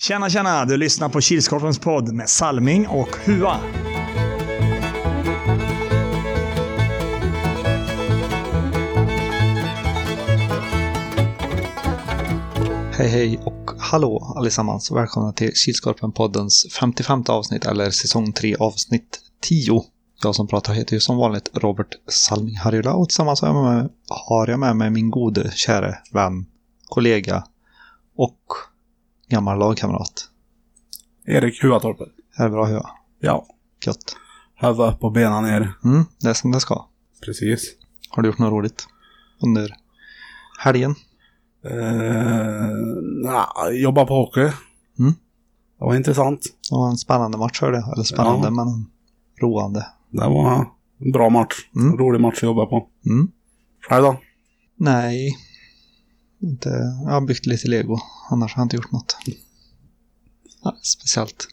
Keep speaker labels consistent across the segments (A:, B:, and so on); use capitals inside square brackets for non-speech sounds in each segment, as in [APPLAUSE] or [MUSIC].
A: Tjena, tjena! Du lyssnar på Kilskorpens podd med Salming och Hua.
B: Hej hej och hallå allesammans! Välkomna till Kilskorpen-poddens 55 avsnitt eller säsong 3 avsnitt 10. Jag som pratar heter ju som vanligt Robert Salming Harjula och tillsammans har jag, med, har jag med mig min gode, käre vän, kollega och gammal lagkamrat.
C: Erik Huatorpet.
B: Är det bra Hua?
C: Ja.
B: Gött!
C: Huvud upp och benen ner.
B: Mm, det är som det ska.
C: Precis.
B: Har du gjort något roligt under helgen?
C: Eh, na, jobba på hockey.
B: Mm.
C: Det var intressant.
B: Det var en spännande match hörde jag. Eller spännande
C: Ja.
B: men en roande.
C: Det var en bra match.
B: Mm.
C: En rolig match att jobba på.
B: Mm.
C: Själv då?
B: Nej. Inte. Jag har byggt lite lego. Annars har jag inte gjort något. Ja, speciellt.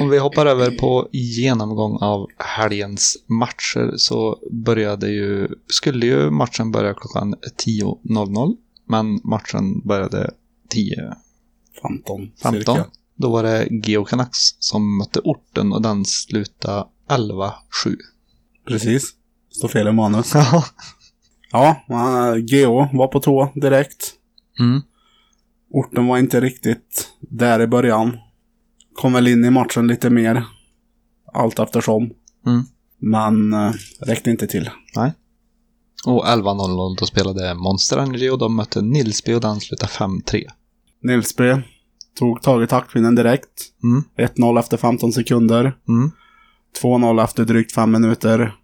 B: Om vi hoppar över på genomgång av helgens matcher så började ju, skulle ju matchen börja klockan 10.00. Men matchen började 10
C: 15.
B: 15.
C: Cirka.
B: Då var det Geo Canucks som mötte orten och den slutade 11-7.
C: Precis. Står fel i manus.
B: Ja.
C: Ja, eh, Geo var på tå direkt.
B: Mm.
C: Orten var inte riktigt där i början. Kom väl in i matchen lite mer. Allt eftersom.
B: Mm.
C: Men eh, räckte inte till.
B: Och 11.00 då spelade Monster Energy och de mötte Nilsby och den slutade 5-3.
C: Nilsby tog tag i taktpinnen direkt.
B: Mm,
C: 1-0 efter 15 sekunder.
B: mm,
C: 2-0 efter drygt 5 minuter.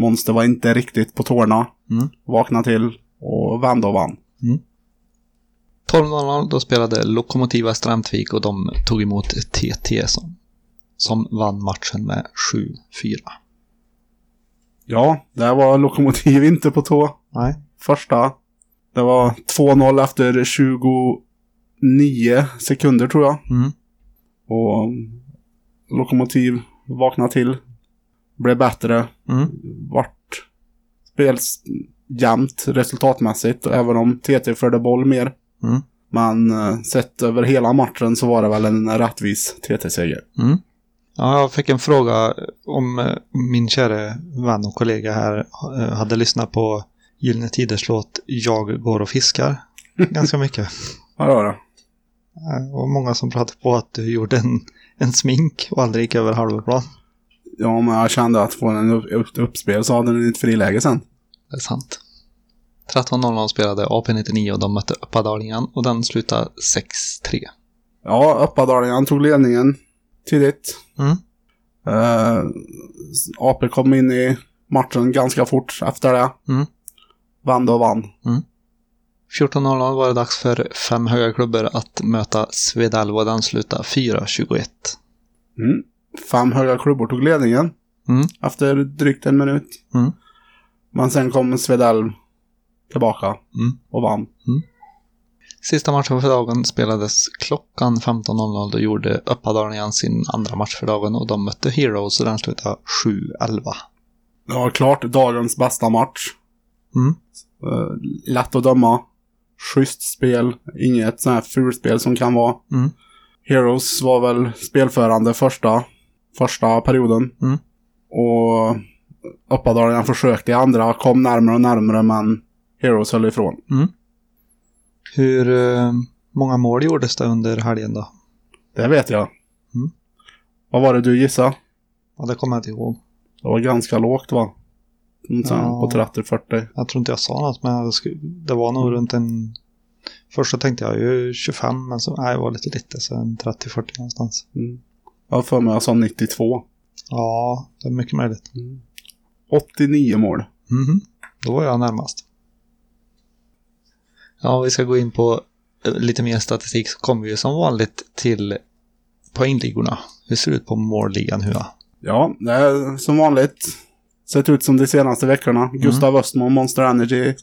C: Monster var inte riktigt på tårna.
B: mm.
C: Vaknade till och vände och vann.
B: 12.00 då spelade Lokomotiv Västra Ämtvik och de tog emot TT som, som vann matchen med 7-4.
C: Ja, där var Lokomotiv [LAUGHS] inte på tå.
B: Nej.
C: Första. Det var 2-0 efter 29 sekunder tror jag.
B: Mm,
C: Och Lokomotiv vaknade till. Blev bättre.
B: mm,
C: Vart spels jämnt resultatmässigt. Även om TT förde boll mer.
B: mm,
C: Men eh, sett över hela matchen så var det väl en rättvis TT-seger.
B: mm. Ja, jag fick en fråga om eh, min käre vän och kollega här eh, hade lyssnat på Gyllene Tiders låt Jag går och fiskar ganska mycket.
C: Ja, det var det.
B: Eh, Och många som pratade på att du gjorde en, en smink och aldrig gick över halva plan.
C: Ja, men jag kände att från en upp, upp, uppspel så hade den ett friläge sen.
B: Det är sant. 13.00 spelade AP-99 och de mötte Uppadalingen och den slutade 6-3.
C: Ja, Uppadalingen tog ledningen tidigt.
B: Mm.
C: Eh, AP kom in i matchen ganska fort efter det.
B: Mm.
C: Vände och vann.
B: 14.00 var det dags för fem höga klubbor att möta Svedalv och den slutade 4-21.
C: Mm. Fem höga klubbor tog ledningen
B: Mm.
C: efter drygt en minut.
B: Mm.
C: Men sen kom Svedalv tillbaka
B: Mm.
C: och vann.
B: Sista matchen för dagen spelades klockan 15.00. Då gjorde Uppadalingen sin andra match för dagen och de mötte Heroes och den slutade 7-11.
C: Det var klart dagens bästa match.
B: Mm.
C: Eh, lätt att döma. Schysst spel. Inget sånt här fulspel som kan vara.
B: Mm.
C: Heroes var väl spelförande första, första perioden.
B: Mm.
C: Och Uppadalingen försökte i andra, kom närmare och närmare men Heroes höll ifrån.
B: Hur eh, många mål gjordes det under helgen då?
C: Det vet jag.
B: Mm.
C: Vad var det du gissade?
B: Ja, det kommer jag inte ihåg.
C: Det var ganska lågt va? Mm, sen
B: Ja.
C: På 30-40.
B: Jag tror inte jag sa något, men jag sku- det var nog runt en... Först så tänkte jag ju 25, men så nej, det var lite lite, så en 30-40 någonstans.
C: Mm. Jag har för mig jag sa 92.
B: Ja, det är mycket möjligt.
C: 89 mål.
B: Mhm. Då var jag närmast. Ja, vi ska gå in på eh, lite mer statistik så kommer vi ju som vanligt till poängligorna. Hur ser det ut på målligan, Hua?
C: Ja, det är som vanligt. Sett ut som de senaste veckorna.
B: Mm.
C: Gustav Östman, Monster Energy.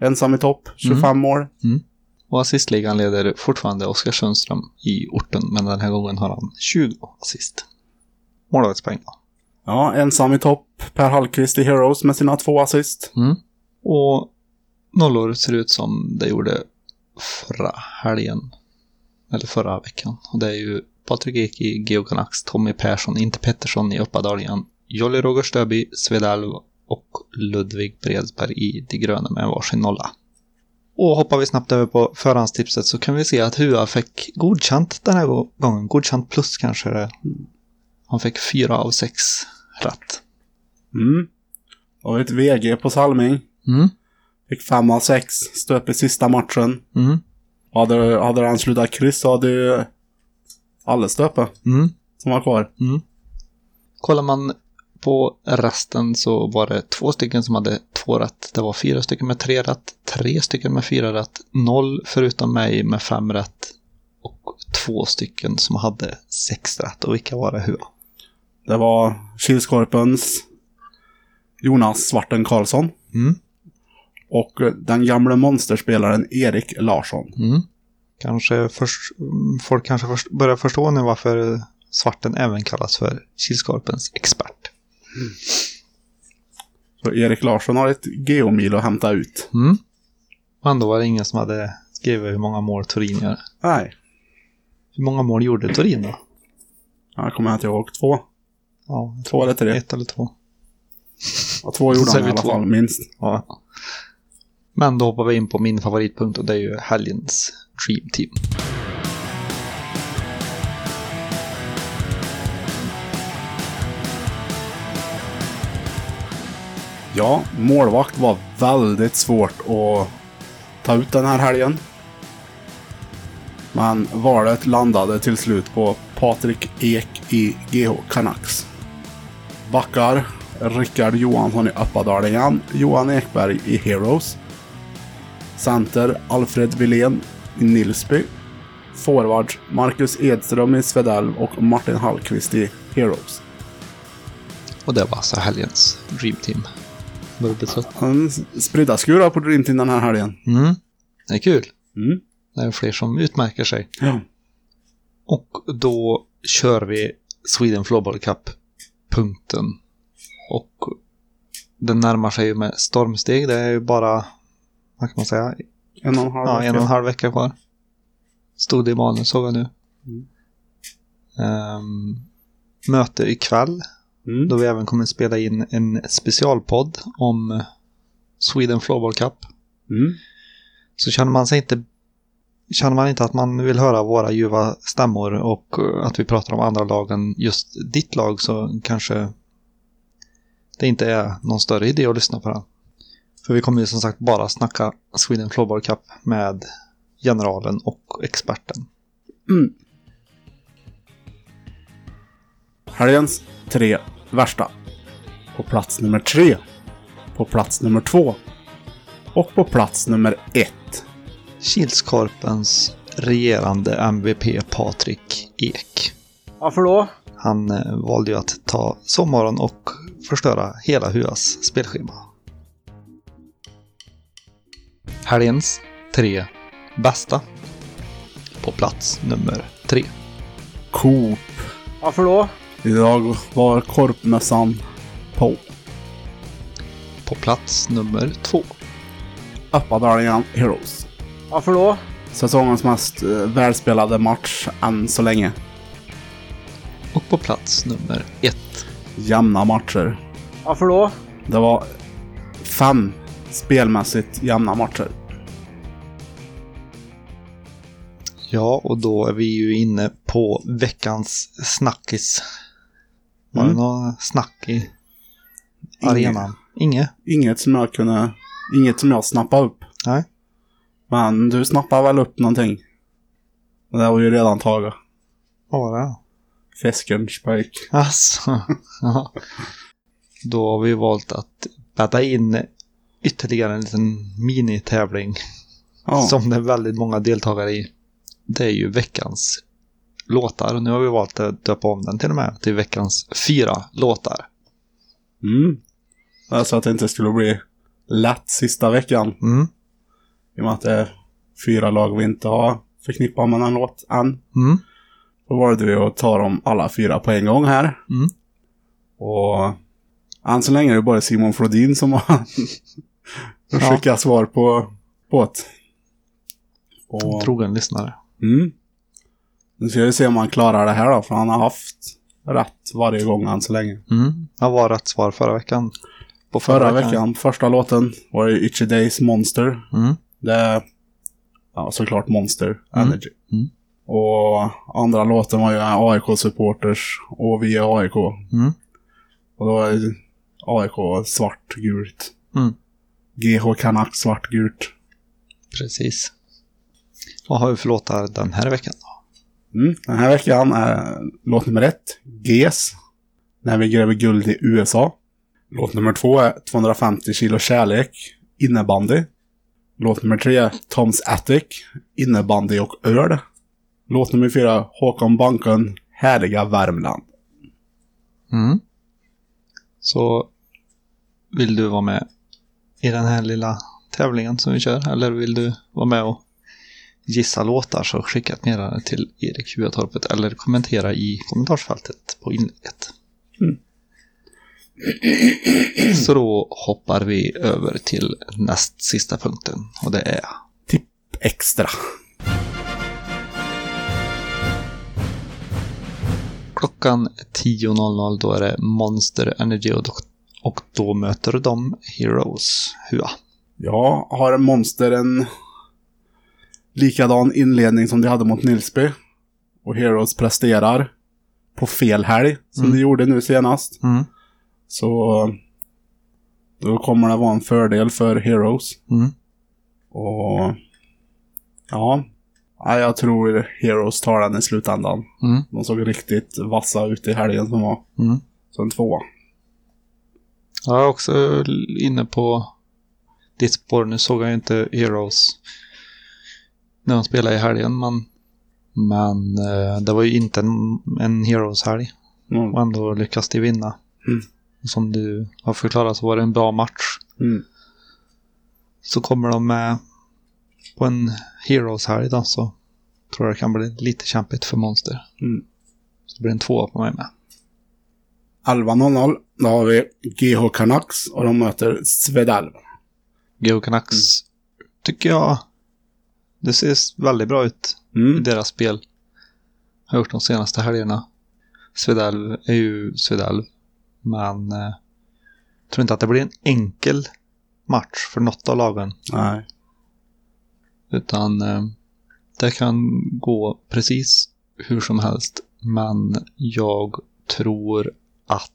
C: Ensam i topp, 25
B: Mm.
C: mål.
B: Och assistligan leder fortfarande Oskar Sundström i orten, men den här gången har han 20 assist. Målvaktspoäng då.
C: Ja, ensam i topp. Per Hallqvist i Heroes med sina två assist.
B: Och nollor ser ut som det gjorde förra helgen. Eller förra veckan. Och det är ju Patrik Ek i Geoganax, Tommy Persson, inte Pettersson i Uppadaljan, Jolly Roger Stöby, Svedalv och Ludvig Bredsberg i De gröna med en varsin nolla. Och hoppar vi snabbt över på förhandstipset så kan vi se att Hua fick godkänt den här gå- gången. Godkänt plus kanske det. Han fick fyra av sex rätt.
C: Mm. Och ett VG på Salming.
B: Mm.
C: Fick fem av sex. Stöp i sista matchen.
B: Mm.
C: Hade, hade han slutat kryss så hade ju alla stöpe
B: Mm.
C: som var kvar.
B: Kollar man på resten så var det två stycken som hade två rätt. Det var fyra stycken med tre rätt, tre stycken med fyra rätt, noll förutom mig med fem rätt och två stycken som hade sex rätt. Och vilka var det? Hur?
C: Det var Kilskorpens Jonas Svarten Karlsson.
B: Mm.
C: Och eh, den gamle monsterspelaren Erik Larsson.
B: Mm. Kanske först, mm, folk kanske först, börjar förstå nu varför svarten även kallas för Kilskorpens expert.
C: Så Erik Larsson har ett geomil att hämta ut.
B: Mm. Och ändå var det ingen som hade skrivit hur många mål Turin gör.
C: Nej,
B: Hur många mål gjorde Turin då?
C: jag kommer inte ihåg. Två.
B: Ja, jag tror
C: Två eller tre.
B: ett eller två.
C: Ja, två gjorde
B: Säger
C: han
B: vi
C: i alla
B: två.
C: fall, minst.
B: Ja. Men då hoppar vi in på min favoritpunkt och det är ju helgens Dream Team.
C: Ja, målvakt var väldigt svårt att ta ut den här helgen. Men valet landade till slut på Patrik Ek i GH Canucks. Backar Rickard Johansson i Öppadalingen, Johan Ekberg i Heroes. Center Alfred Wilén i Nilsby. Forward Marcus Edström i Svedalv och Martin Hallqvist i Heroes.
B: Och det var alltså helgens Dream Team. Börjar bli trött.
C: En spridda skurar på Dream Team den här helgen.
B: Mm. Det är kul.
C: Mm.
B: Det är fler som utmärker sig.
C: Ja.
B: Och då kör vi Sweden Floorball Cup-punkten. Och den närmar sig ju med stormsteg. Det är ju bara, vad kan man säga,
C: En och en halv
B: Ja, en och en
C: vecka.
B: halv vecka kvar. Stod det i manus, såg jag nu.
C: Mm.
B: Ehm, möte ikväll,
C: Mm.
B: då vi även kommer spela in en specialpodd om Sweden Floorball Cup.
C: Mm.
B: Så känner man sig inte Känner man inte att man vill höra våra ljuva stämmor och eh, att vi pratar om andra lag än just ditt lag så kanske det inte är någon större idé att lyssna på den. För vi kommer ju som sagt bara snacka Sweden Floorball Cup med generalen och experten.
C: Helgens tre värsta. På plats nummer tre. På plats nummer två. Och på plats nummer ett.
B: Kilskorpens regerande MVP Patrik Ek.
C: Varför då?
B: Han eh, valde ju att ta sommaren och förstöra hela Huas spelschema. Helgens tre bästa. På plats nummer tre.
C: Coop.
D: Varför då?
C: Idag var korpmössan på.
B: På plats nummer två.
C: Öppadalingen Heroes.
D: Varför då?
C: Säsongens mest eh, välspelade match än så länge.
B: Och på plats nummer ett.
C: Jämna matcher.
D: Varför då?
C: Det var fem spelmässigt jämna matcher.
B: Ja, och då är vi ju inne på veckans snackis. Var
C: Mm.
B: det någon snack i
C: Inge.
B: arenan? Inge?
C: Inget som jag kunde... Inget som jag snappade upp.
B: Nej.
C: Men du snappade väl upp någonting? Det där var ju redan taget.
B: Vad var det då?
C: Fiskerns pojk. [LAUGHS]
B: Alltså. ja. Då har vi valt att bädda in ytterligare en liten minitävling
C: Ja.
B: som det är väldigt många deltagare i. Det är ju veckans låtar. Nu har vi valt att döpa om den till och med till veckans fyra låtar.
C: Mm. Alltså att det inte skulle bli lätt sista veckan.
B: Mm.
C: I och med att det är fyra lag vi inte har förknippat med någon låt än.
B: Mm.
C: Då valde vi att ta dem alla fyra på en gång här.
B: Mm.
C: Och än så länge är det bara Simon Flodin som har [LAUGHS] skickat svar på båt. Och...
B: Trogen lyssnare.
C: Mm. Nu ska vi se om han klarar det här då, för han har haft rätt varje gång än så länge.
B: Mm. Jag var rätt svar förra veckan. På
C: Förra veckan, första låten, var ju Itchy Days Monster.
B: Mm.
C: Det är ja, såklart Monster
B: Mm.
C: Energy.
B: Mm.
C: Och andra låten var ju AIK-supporters och vi är AIK.
B: Mm.
C: Och då är AIK svart-gult.
B: Mm.
C: GH Canucks svart-gult.
B: Precis. Vad har vi för låtar den här veckan? då?
C: Mm. Den här veckan är låt nummer ett, GES. När vi gräver guld i USA. Låt nummer två är 250 kilo kärlek, innebandy. Låt nummer tre, är Toms Attic, innebandy och öl. Låt nummer fyra, Håkan Banken, härliga Värmland.
B: Mm. Så vill du vara med i den här lilla tävlingen som vi kör? Eller vill du vara med och gissa låtar så skicka ett meddelande till Erik Huatorpet eller kommentera i kommentarsfältet på inlägget. Så då hoppar vi över till näst sista punkten och det är
C: Tipp extra.
B: Klockan 10.00 då är det Monster Energy och, dokt- och då möter de Heroes Hua.
C: Ja, har Monster en likadan inledning som de hade mot Nilsby? Och Heroes presterar på fel helg, som de gjorde nu senast.
B: Mm.
C: Så då kommer det vara en fördel för Heroes.
B: Mm.
C: Och ja, Ja, jag tror Heroes tar den i slutändan.
B: Mm.
C: De såg riktigt vassa ut i helgen som var.
B: Mm.
C: Så en tvåa.
B: Jag är också inne på ditt spår. Nu såg jag ju inte Heroes när de spelade i helgen, men, men eh, det var ju inte en, en Heroes-helg.
C: Mm.
B: Och ändå lyckas de vinna.
C: Mm.
B: Som du har förklarat så var det en bra match.
C: Mm.
B: Så kommer de med på en Heroes-helg då, så tror jag det kan bli lite kämpigt för Monster.
C: Mm.
B: Så det blir en tvåa på mig med.
C: 11.00, då har vi GH Canucks och de möter Svedalv.
B: Geo Canucks
C: Mm.
B: tycker jag, det ser väldigt bra ut. i
C: Mm.
B: deras spel. Har gjort de senaste helgerna. Svedalv är ju Svedalv. Men eh, tror inte att det blir en enkel match för något av lagen.
C: Nej.
B: Utan eh, det kan gå precis hur som helst. Men jag tror att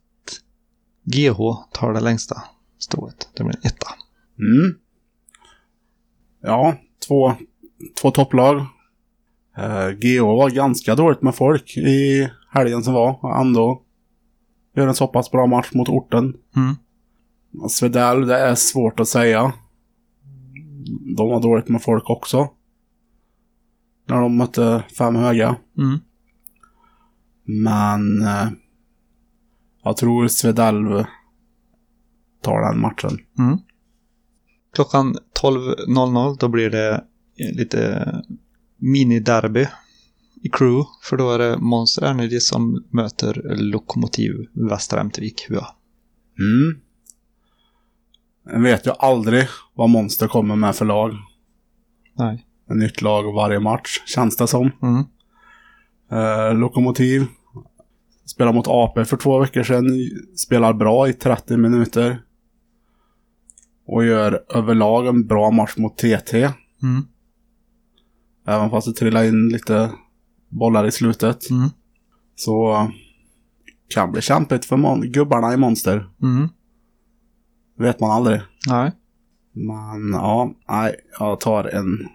B: GH tar det längsta strået. Det blir en etta.
C: Mm. Ja, två, två topplag. Eh, GH var ganska dåligt med folk i helgen som var och ändå gör en så pass bra match mot orten.
B: Mm.
C: Svedell, det är svårt att säga. De var dåligt med folk också. När de mötte fem höga.
B: Mm.
C: Men eh, jag tror Svedell tar den matchen.
B: Klockan 12.00 då blir det eh, lite miniderby i crew. För då är det Monster Energy som möter Lokomotiv Västra Ämtervik HUA.
C: Mm. Jag vet ju aldrig vad Monster kommer med för lag.
B: Nej.
C: Ett nytt lag varje match, känns det som.
B: Mm.
C: Eh, Lokomotiv. Spelade mot AP för två veckor sedan. Spelar bra i 30 minuter. Och gör överlag en bra match mot TT.
B: Mm.
C: Även fast det trillar in lite bollar i slutet.
B: Mm.
C: Så kan bli kämpigt för mon- gubbarna i Monster.
B: Mm.
C: Vet man aldrig.
B: Nej.
C: Men ja, nej, jag tar en...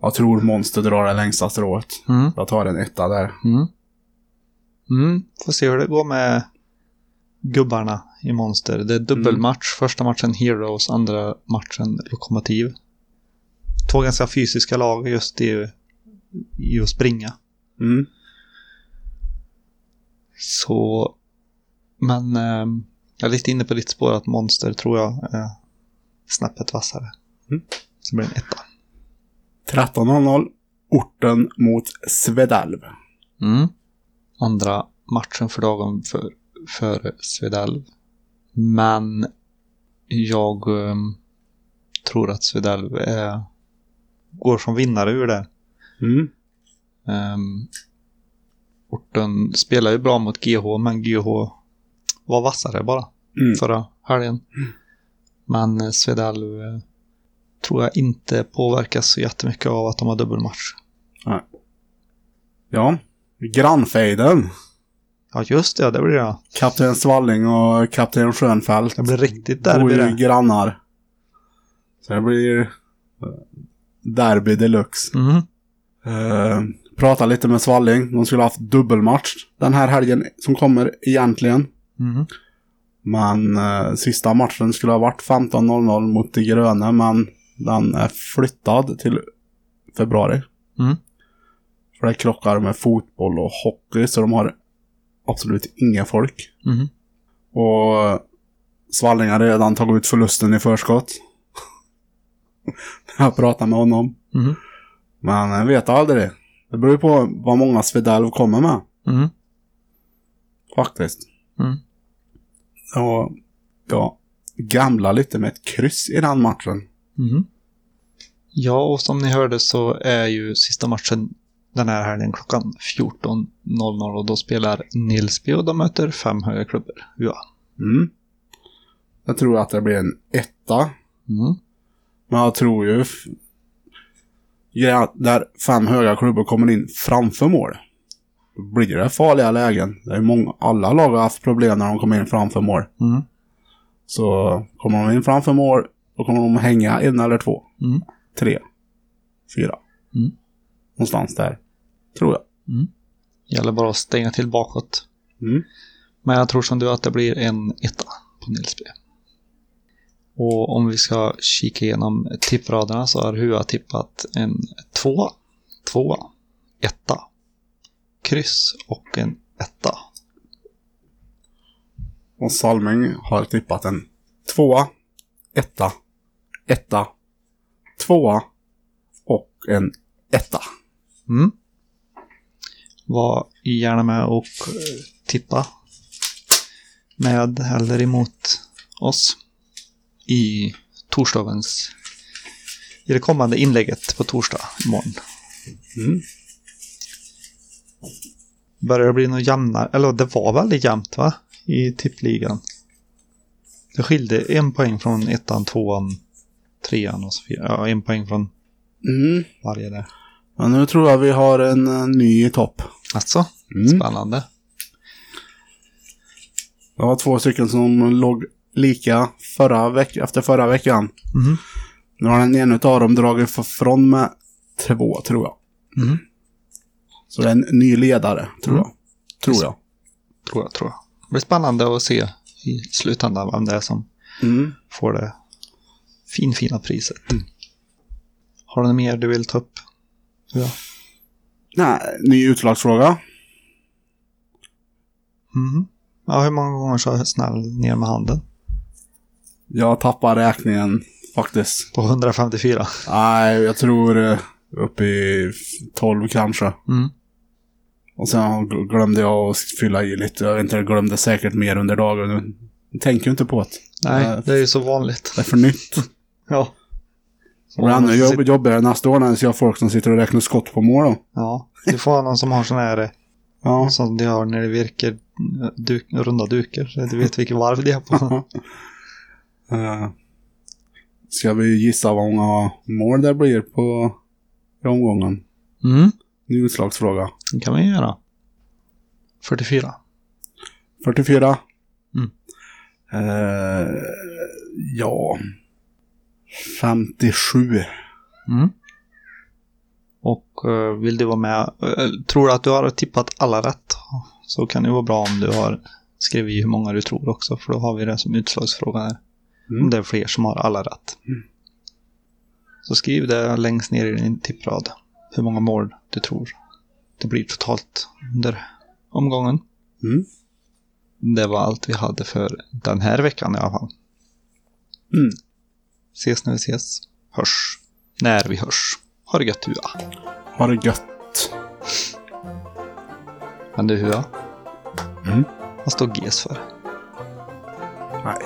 C: Jag tror Monster drar det längsta strået.
B: Mm.
C: Jag tar en etta där.
B: Mm. Mm. Får se hur det går med gubbarna i Monster. Det är dubbelmatch. Första matchen Heroes, andra matchen Lokomotiv. Två ganska fysiska lag just i, i att springa.
C: Mm.
B: Så, men ehm, jag är lite inne på ditt spår att Monster tror jag är snäppet vassare.
C: Mm.
B: Så blir det en etta.
C: 13.00. Orten mot Svedalv.
B: Mm. Andra matchen för dagen för, för Svedalv. Men jag ehm, eh, tror att Svedalv är, går som vinnare ur det.
C: Mm.
B: Ehm, orten spelar ju bra mot GH, men GH var vassare bara
C: Mm.
B: förra helgen. Men eh, Svedalv eh, tror jag inte påverkas så jättemycket av att de har dubbelmatch.
C: Ja. Grannfejden.
B: Ja, just det. Det blir det.
C: Kapten Svalling och Kapten Schönfeldt.
B: Det blir riktigt
C: bor
B: derby
C: ju
B: det.
C: grannar. Så det blir eh, derby deluxe.
B: Mhm.
C: Eh, pratade lite med Svalling. De skulle ha haft dubbelmatch den här helgen som kommer egentligen.
B: Mhm.
C: Men eh, sista matchen skulle ha varit 15.00 mot De gröna, men den är flyttad till februari.
B: Mm.
C: För det krockar med fotboll och hockey, så de har absolut inga folk.
B: Mhm.
C: Och eh, Svalling har redan tagit ut förlusten i förskott. [LAUGHS] När jag pratade med honom.
B: Mhm.
C: Men jag vet aldrig. Det beror ju på vad många Svedalv kommer med.
B: Mhm.
C: Faktiskt.
B: Mm.
C: Och jag gamla lite med ett kryss i den matchen.
B: Mhm. Ja, och som ni hörde så är ju sista matchen den här helgen klockan 14.00 och då spelar Nilsby och de möter fem höga klubbor. Ja.
C: Mm. Jag tror att det blir en etta.
B: Mm.
C: Men jag tror ju... f- grejen är att Där fem höga klubbor kommer in framför mål. Då blir det farliga lägen. Det är många, alla lag har haft problem när de kommer in framför mål.
B: Mm.
C: Så kommer de in framför mål, då kommer de hänga en eller två.
B: Mm.
C: Tre. Fyra.
B: Mm.
C: Någonstans där. Tror jag.
B: Gäller bara att stänga till bakåt.
C: Mm.
B: Men jag tror som du att det blir en etta på Nilsby. Och om vi ska kika igenom tippraderna så har Hua tippat en tvåa, tvåa, etta, kryss och en etta.
C: Och Salming har tippat en tvåa, etta, etta, tvåa och en etta.
B: Mm. Var gärna med och eh, tippa med eller emot oss i torsdagens i det kommande inlägget på torsdag imorgon.
C: Mm.
B: Börjar det bli något jämnare? Eller det var väldigt jämnt va? I tippligan. Det skilde en poäng från ettan, tvåan, trean och så vidare. Ja, en poäng från
C: Mm.
B: varje där.
C: Men nu tror jag vi har en eh, ny topp.
B: Alltså,
C: Mm.
B: spännande.
C: Det var två stycken som låg lika förra veck efter förra veckan.
B: Mhm.
C: Nu har den ena av dem dragit för- från med två, tror jag. Mm.
B: Mhm.
C: Så det är en ny ledare, tror
B: Mm.
C: jag. Tror jag.
B: Tror jag, tror jag. Det blir spännande att se i slutändan vem det är som
C: Mm.
B: får det finfina priset. Har du något mer du vill ta upp? Ja.
C: Nej, ny utslagsfråga.
B: Mhm. ja, hur många gånger sa jag snäll ner med handen?
C: Jag tappar räkningen faktiskt.
B: På 154.
C: Nej, jag tror eh, upp i f- 12 kanske.
B: Mm.
C: Och sen gl- glömde jag att fylla i lite. Jag vet inte, jag glömde säkert mer under dagen. Jag tänker ju inte på det.
B: Nej,
C: Nej.
B: det är ju så vanligt.
C: Det är [LAUGHS] för nytt.
B: Ja.
C: Det blir ännu jobb, jobbigare nästa år när jag har folk som sitter och räknar skott på mål då.
B: Ja, du får ha någon som har sån här eh,
C: Ja.
B: som de har när det virker eh, duk, runda dukar. så att Du vet vilken varv de är på.
C: Eh, Ska vi gissa vad många mål det blir på i omgången?
B: Mm,
C: Ny utslagsfråga.
B: det kan man ju göra. 44.
C: 44.
B: Mm.
C: Eh, ja. 57.
B: Mm. Och eh, vill du vara med, eh, tror du att du har tippat alla rätt så kan det vara bra om du har skrivit hur många du tror också för då har vi det som utslagsfråga här.
C: Mm.
B: Om det är fler som har alla rätt. Så skriv det längst ner i din tipprad hur många mål du tror det blir totalt under omgången.
C: Mm.
B: Det var allt vi hade för den här veckan i alla fall.
C: Mm.
B: Ses när vi ses. Hörs. När vi hörs. Ha det gött Hua.
C: Ha det gött.
B: Men du Hua.
C: Mm.
B: Vad står GS för?
C: Nej.